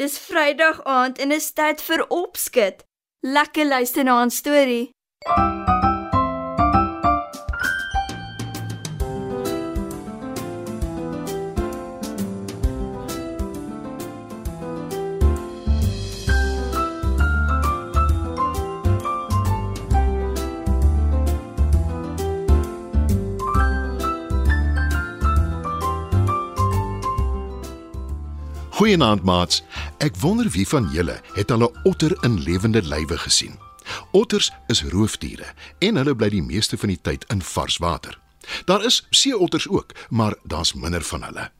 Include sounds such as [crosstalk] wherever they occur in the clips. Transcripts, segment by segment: Dis Vrydag aand en is tyd vir opskud. Lekker luister na 'n storie. Goeienaand maats. Ek wonder wie van julle het al 'n otter in lewende lywe gesien. Otters is roofdiere en hulle bly die meeste van die tyd in vars water. Daar is seeotters ook, maar daar's minder van hulle.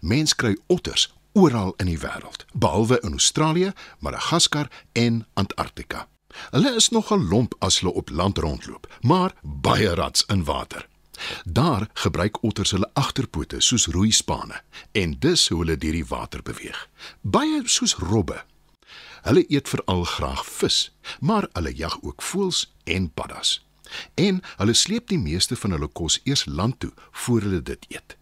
Mens kry otters oral in die wêreld, behalwe in Australië, Madagaskar en Antarktika. Hulle is nogal lomp as hulle op land rondloop, maar baie rats in water. Daar gebruik otters hulle agterpote soos roeispane en dis hoe hulle deur die water beweeg. Baie soos robbe. Hulle eet veral graag vis, maar hulle jag ook voëls en paddas. En hulle sleep die meeste van hulle kos eers land toe voor hulle dit eet.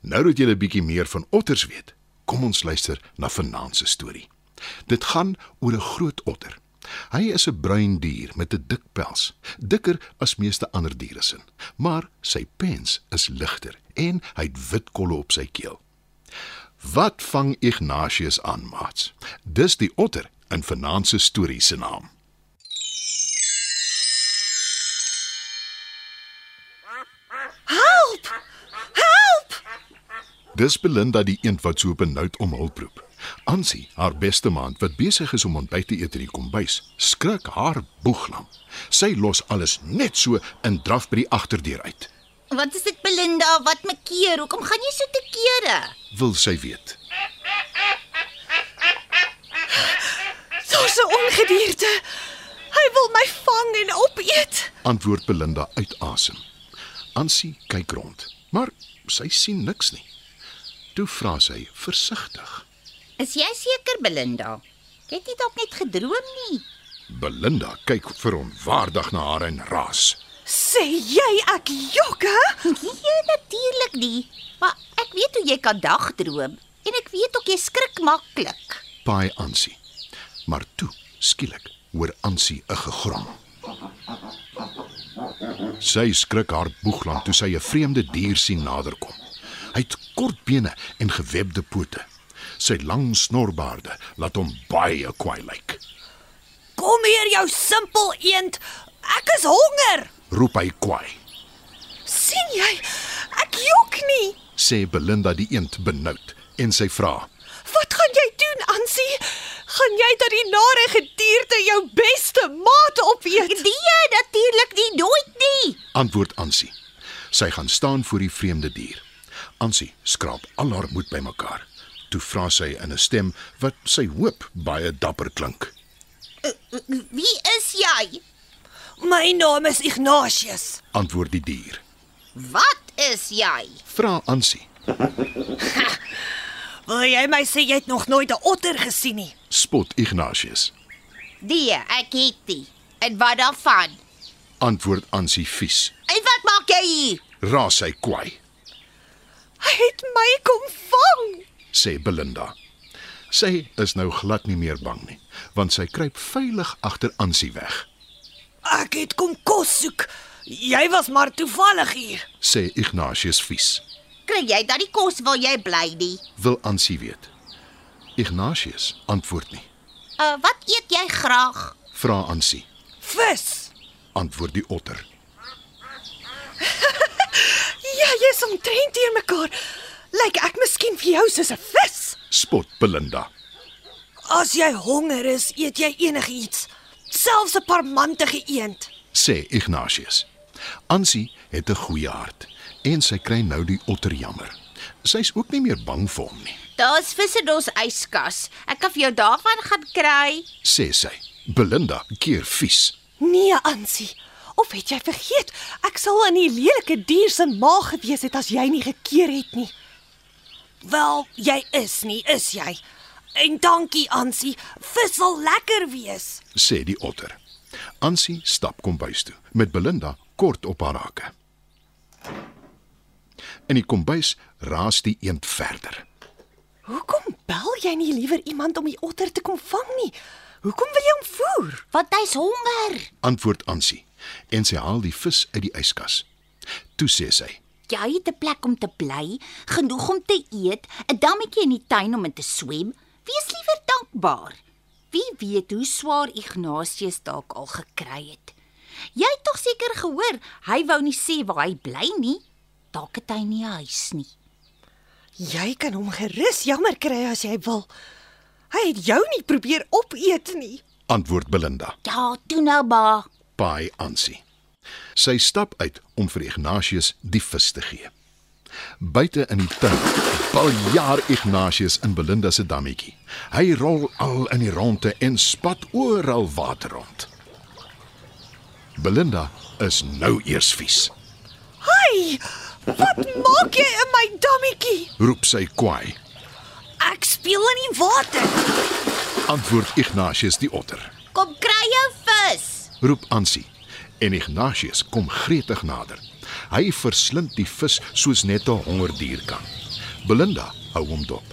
Nou dat julle bietjie meer van otters weet, kom ons luister na vanaand se storie. Dit gaan oor 'n groot otter. Hy is 'n bruin dier met 'n dik pels, dikker as meeste ander diere sin, maar sy pens is ligter en hy het wit kolle op sy keel. Wat vang Ignatius aan, maats? Dis die otter in vanaand se storie se naam. Help! Help! Dis Belinda die eend wat so benoud om hulp roep. Ansie, haar beste maand wat besig is om ontbyt te eet in die kombuis, skrik haar boeglam. Sy los alles net so in draf by die agterdeur uit. Wat is dit Belinda? Wat maak keer? Hoekom gaan jy so te kere? Wil sy weet. Daar's 'n ongedierte. Hy wil my vang en opeet. Antwoord Belinda uit asem. Ansie kyk rond, maar sy sien niks nie. Toe vra sy versigtig. Is jy seker Belinda? Jy het nie dalk net gedroom nie. Belinda kyk verontwaardig na haar en raas. Sê jy ek jok, [laughs] hè? Nee, natuurlik nie. Maar ek weet hoe jy kan dagdroom en ek weet ook jy skrik maklik. Paai Ansie. Maar toe, skielik, hoor Ansie 'n gegrom. Sy skrik haar boeglam toe sy 'n vreemde dier sien naderkom. Hy het kort bene en gewebde pote. Sy lang snorbaarde laat hom baie kwaai lyk. Kom hier jou simpel eend. Ek is honger. Roep hy kwaai. sien jy? Ek jok nie. sê Belinda die eend benoud en sy vra: Wat gaan jy doen, Ansie? Gaan jy dat die nare gedierte jou beste maat opeet? Nee, natuurlik nie, nooit nie. Antwoord Ansie. Sy gaan staan voor die vreemde dier. Ansie skraap al haar moed bymekaar. Toe vra sy in 'n stem wat sy hoop baie dapper klink. Wie is jy? My naam is Ignatius. Antwoord die dier. Wat is jy? Vra Ansie. Wil jy my sê jy het nog nooit 'n otter gesien nie? Spot Ignatius. Nee, ek het nie. En wat daarvan? Antwoord Ansie vies. En wat maak jy hier? Raas sy kwaai, Hy het my kom vang. sê Belinda. Sy is nou glad nie meer bang nie, want sy kruip veilig agter Ansie weg, Ek het kom kos soek. Jy was maar toevallig hier. sê Ignatius vies. Kry jy dat die kos wil jy bly nie? Wil Ansie weet. Ignatius antwoord nie. Uh, wat eet jy graag? Vra Ansie. Vis. antwoord die otter. Ja, jy's omtrent hier mekaar. Lyk ek miskien vir jou soos 'n vis. Spot Belinda. As jy honger is, eet jy enigiets, selfs 'n parmantige eend. sê Ignatius. Ansie het 'n goeie hart en sy kry nou die otter jammer. Sy's ook nie meer bang vir hom nie, Daar's vis in ons yskas. Ek kan vir jou daarvan gaan kry. sê sy. Belinda keer vies. Nee, Ansie. Of het jy vergeet? Ek sal in die lelike dier se maag gewees het as jy nie gekeer het nie. Wel, jy is nie, is jy? En dankie, Ansie. Vis sal lekker wees. sê die otter. Ansie stap kombuis toe met Belinda kort op haar hake. In die kombuis raas die eend verder. Hoekom bel jy nie liewer iemand om die otter te kom vang nie? Hoekom wil jy hom voer? want hy's honger. Antwoord Ansie en sy haal die vis uit die yskas. Toe sê sy: Jy het 'n plek om te bly, genoeg om te eet, 'n dammetjie in die tuin om in te swem. Wees liewer dankbaar. Wie weet hoe swaar Ignatius dalk al gekry het. Jy het tog seker gehoor hy wou nie sê waar hy bly nie. Dalk het hy nie 'n huis nie. Jy kan hom gerus jammer kry as jy wil. Hy het jou nie probeer opeet nie. "Antwoord Belinda, Ja, toe nou maar. paai Ansie." Sy stap uit om vir Ignatius die vis te gee. Buite in die tuin baljaar Ignatius in Belinda se dammetjie. Hy rol al in die ronde en spat oral water rond. Belinda is nou eers vies. Hai! Wat maak jy in my dammetjie? Roep sy kwaai. Ek speel in die water. Antwoord Ignatius die otter. Kom kry jou vis. roep Ansie en Ignatius kom gretig nader. Hy verslind die vis soos net 'n hongerdier kan. Belinda hou hom dop.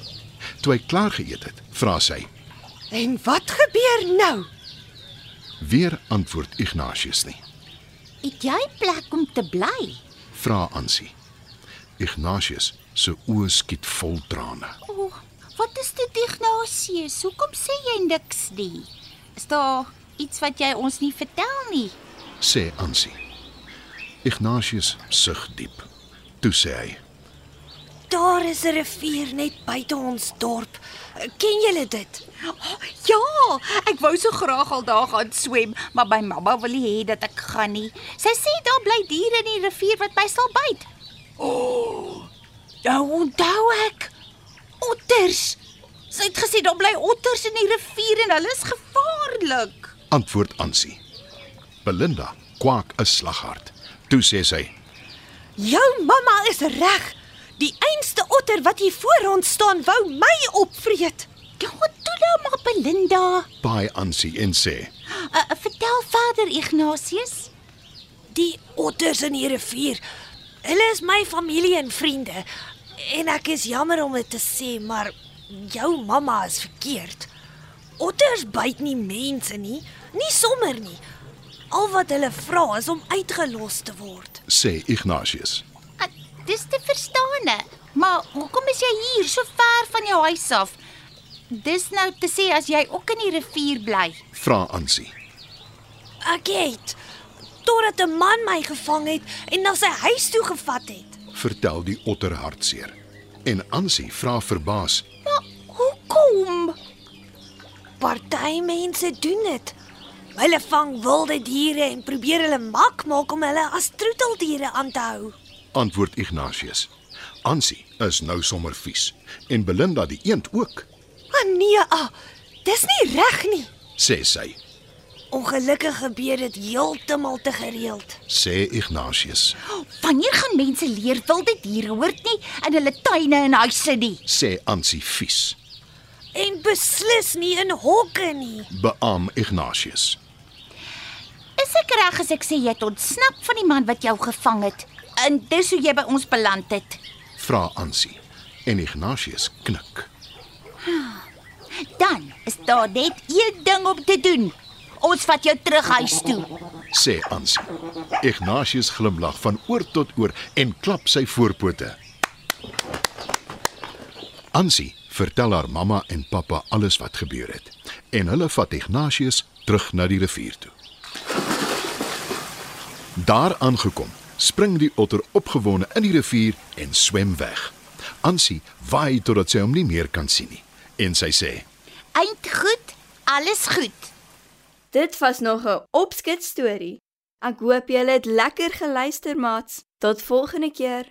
Toe hy klaar geëet het, vra sy: En wat gebeur nou? "Weer antwoord Ignatius nie." Het jy 'n plek om te bly? Vra Ansie. Ignatius se oë skiet vol trane. O, oh, wat is dit Ignatius? Hoekom sê jy niks nie? Is daar iets wat jy ons nie vertel nie? sê Ansie. Ignatius sug diep. Toe sê hy: Daar is 'n rivier net buite ons dorp. Ken julle dit? Oh, [gasps] Ja, ek wou so graag al daar gaan swem, maar my mamma wil nie hê dat ek gaan nie. Sy sê daar bly diere in die rivier wat my sal byt. O, oh, nou onthou ek. Otters. Sy het gesê daar bly otters in die rivier en hulle is gevaarlik. "Antwoord Ansie." Belinda kwaak 'n slaghard. Toe sê sy: Jou mamma is reg. Die einste otter wat hier voor ons staan wou my opvreet. Ja, toe nou maar Belinda. "Baie Ansie" en sê: Uh, uh, vertel verder Ignatius. Die otters in die rivier. Hulle is my familie en vriende. En ek is jammer om dit te sê, maar jou mamma is verkeerd. Otters byt nie mense nie, nie sommer nie. Al wat hulle vra is om uitgelos te word. sê Ignatius. Ah, Dis te verstaan, maar hoekom is jy hier so ver van jou huis af? Dis nou te sê as jy ook in die rivier bly. Vra Ansie. Ek het totdat 'n man my gevang het en na sy huis toe gevat het. Vertel die otter hartseer. En Ansie vra verbaas. Maar hoekom? Party mense doen dit. Hulle vang wilde diere en probeer hulle mak maak om hulle as troeteldiere aan te hou. Antwoord Ignatius. Ansie is nou sommer vies en Belinda die eend ook, Maar nee, ah, dis nie reg nie. sê sy. Ongelukkig gebeur dit heeltemal te gereeld. Sê Ignatius. Wanneer gaan mense leer wilde diere hoort nie in hulle tuine en huise nie? Sê Ansie vies. En beslis nie in hokke nie. Beam Ignatius. Is ek reg as ek sê jy het ontsnap van die man wat jou gevang het? En dis hoe jy by ons beland het. Vra Ansie. En Ignatius knik. Dan is daar net een ding om te doen. Ons vat jou terug huis toe. Sê Ansie. Ignatius glimlag van oor tot oor en klap sy voorpote. Ansie vertel haar mamma en pappa alles wat gebeur het en hulle vat Ignatius terug na die rivier toe. Daar aangekom, spring die otter opgewonde in die rivier en swem weg. Ansie waai totdat sy hom nie meer kan sien nie en sy sê: Eind goed, alles goed. Dit was nog 'n opskit storie. Ek hoop julle het lekker geluister, maats. Tot volgende keer.